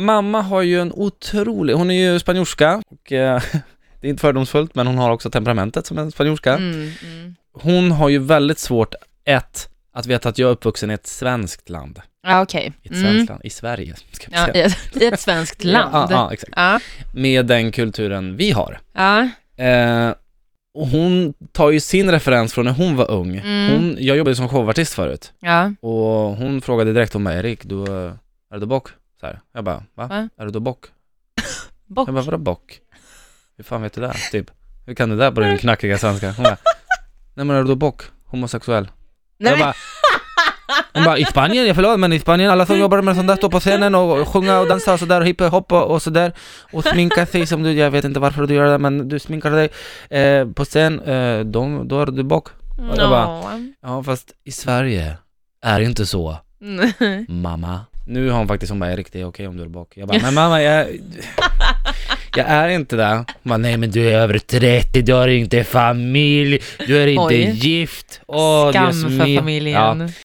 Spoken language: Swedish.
Mamma har ju en otrolig, hon är ju spanjorska och eh, det är inte fördomsfullt men hon har också temperamentet som en spanjorska. Mm, mm. Hon har ju väldigt svårt, ett, att veta att jag är uppvuxen i ett svenskt land. Ja, okej. I, ett Mm. svenskt land, i Sverige, ska man Ja, säga. i ett- I ett svenskt land. Ja, ja, exakt. Ja, Med den kulturen vi har. ja, Eh, och hon tar ju sin referens från när hon var ung. Mm. Hon, jag jobbade som showartist förut ja. och hon frågade direkt, hon bara Erik, du, eh, är du bock? Så här. Jag bara, va? Va? Är du bock? Bock. Jag bara, vadå bock? Hur fan vet du det? Typ, hur kan du det där på din knackiga svenska? Hon bara, nej men är du bock? Homosexuell? Nej, Jag men- bara, hon bara, i Spanien, jag förlåt men i Spanien, alla Mm. som jobbar med sånt där står på scenen och sjunga och dansa och sådär, och hiphop och, och sådär och sminka sig som du, jag vet inte varför du gör det men du sminkar dig eh, på scen, eh, de, då är du bock. jag bara- Ja fast i Sverige är det inte så, Nej. mamma. Nu har hon faktiskt, hon bara Erik det är okej om du är bock. Jag bara, men mamma jag, jag är inte det. Hon bara, nej men du är över 30, du har inte familj, du är inte Oj. gift. Åh, Skam Dios för mio. Ja. familjen.